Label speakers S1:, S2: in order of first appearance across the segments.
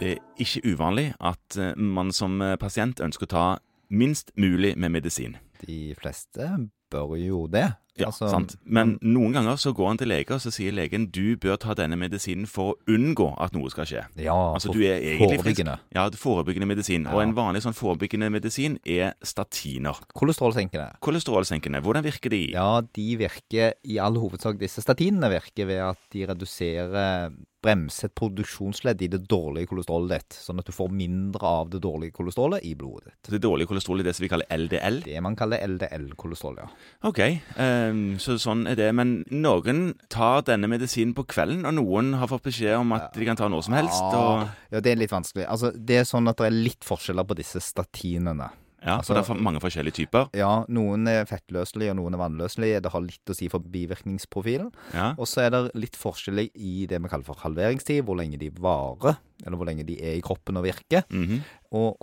S1: Det er ikke uvanlig at eh, man som eh, pasient ønsker å ta minst mulig med medisin.
S2: De fleste bør jo det.
S1: Ja,
S2: Altså,
S1: sant. Men noen ganger så går han til lege, og så sier legen du bør ta denne medisinen for å unngå at noe skal skje.
S2: Ja,
S1: Altså,
S2: for
S1: du er egentlig frisk.
S2: forebyggende.
S1: Ja, det er forebyggende medisin. Og en vanlig sånn forebyggende medisin er statiner.
S2: Kolesterolsenkende.
S1: Kolesterolsenkende, hvordan virker de?
S2: Ja, de virker i all hovedsak Disse statinene virker ved at de reduserer bremset produksjonsledd i det dårlige kolesterolet ditt, sånn at du får mindre av det dårlige kolesterolet i blodet ditt.
S1: Det dårlige kolesterol er det som vi kaller LDL.
S2: Det man kaller LDL-kolesterol, ja.
S1: Ok, ehm, så sånn er det. Men noen tar denne medisinen på kvelden, og noen har fått beskjed om at de kan ta når som helst. Og,
S2: Ah, Ja, det er litt vanskelig. Altså, det er sånn at det er litt forskjeller på disse statinene.
S1: ja, for
S2: Altså-
S1: det er for- mange forskjellige typer.
S2: Ja, noen er fettløselige, og noen er vannløselige. Det har litt å si for bivirkningsprofilen.
S1: Ja.
S2: Og så er det litt forskjellig i det vi kaller for halveringstid, hvor lenge de varer, eller hvor lenge de er i kroppen og virker.
S1: Mhm.
S2: Og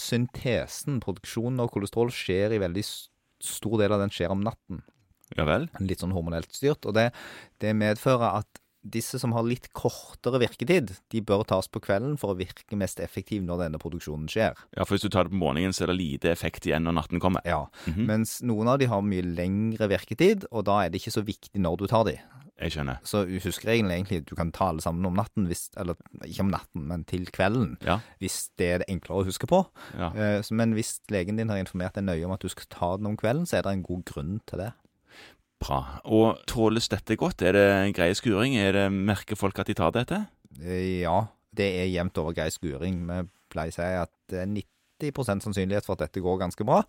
S2: kolesterolsyntesen, produksjonen av kolesterol, skjer i veldig s- stor del av den skjer om natten.
S1: ja vel.
S2: Litt sånn hormonelt styrt. Og det, det medfører at disse som har litt kortere virketid, de bør tas på kvelden for å virke mest effektiv når denne produksjonen skjer.
S1: Ja, for hvis du tar det på morgenen, så er det lite effekt igjen når natten kommer. Mhm.
S2: Ja,
S1: Mm.
S2: Mens noen av de har mye lengre virketid, og da er det ikke så viktig når du tar de.
S1: Jeg skjønner.
S2: Så huskeregelen er egentlig at du kan ta alle sammen om natten, hvis, eller ikke om natten, men til kvelden.
S1: Ja,
S2: Hvis det er det enklere å huske på.
S1: ja.
S2: Eh, så- Men hvis legen din har informert deg nøye om at du skal ta den om kvelden, så er det en god grunn til det.
S1: Bra. Og tåles dette godt? Er det grei skuring? Er det, merker folk at de tar dette?
S2: Eh, Ja, det er jevnt over grei skuring. Vi pleier å si at det er 90 sannsynlighet for at dette går ganske bra.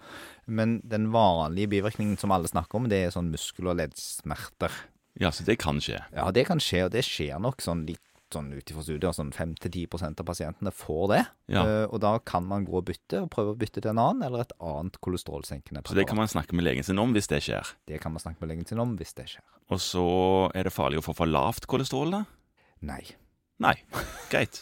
S2: Men den vanlige bivirkningen som alle snakker om, det er sånn muskel- og leddsmerter.
S1: Ja, så det kan skje.
S2: Ja, det kan skje, og det skjer nok sånn litt sånn ut ifra studier, sånn 5-10 av pasientene får det.
S1: Ja.
S2: Eh, Og da kan man gå og bytte, og prøve å bytte til en annen, eller et annet kolesterolsenkende
S1: Så det kan
S2: preparat.
S1: man snakke med legen sin om hvis det skjer.
S2: Det kan man snakke med legen sin om hvis det skjer.
S1: Og så er det farlig å få for lavt kolesterol, da?
S2: Nei.
S1: Nei. Greit.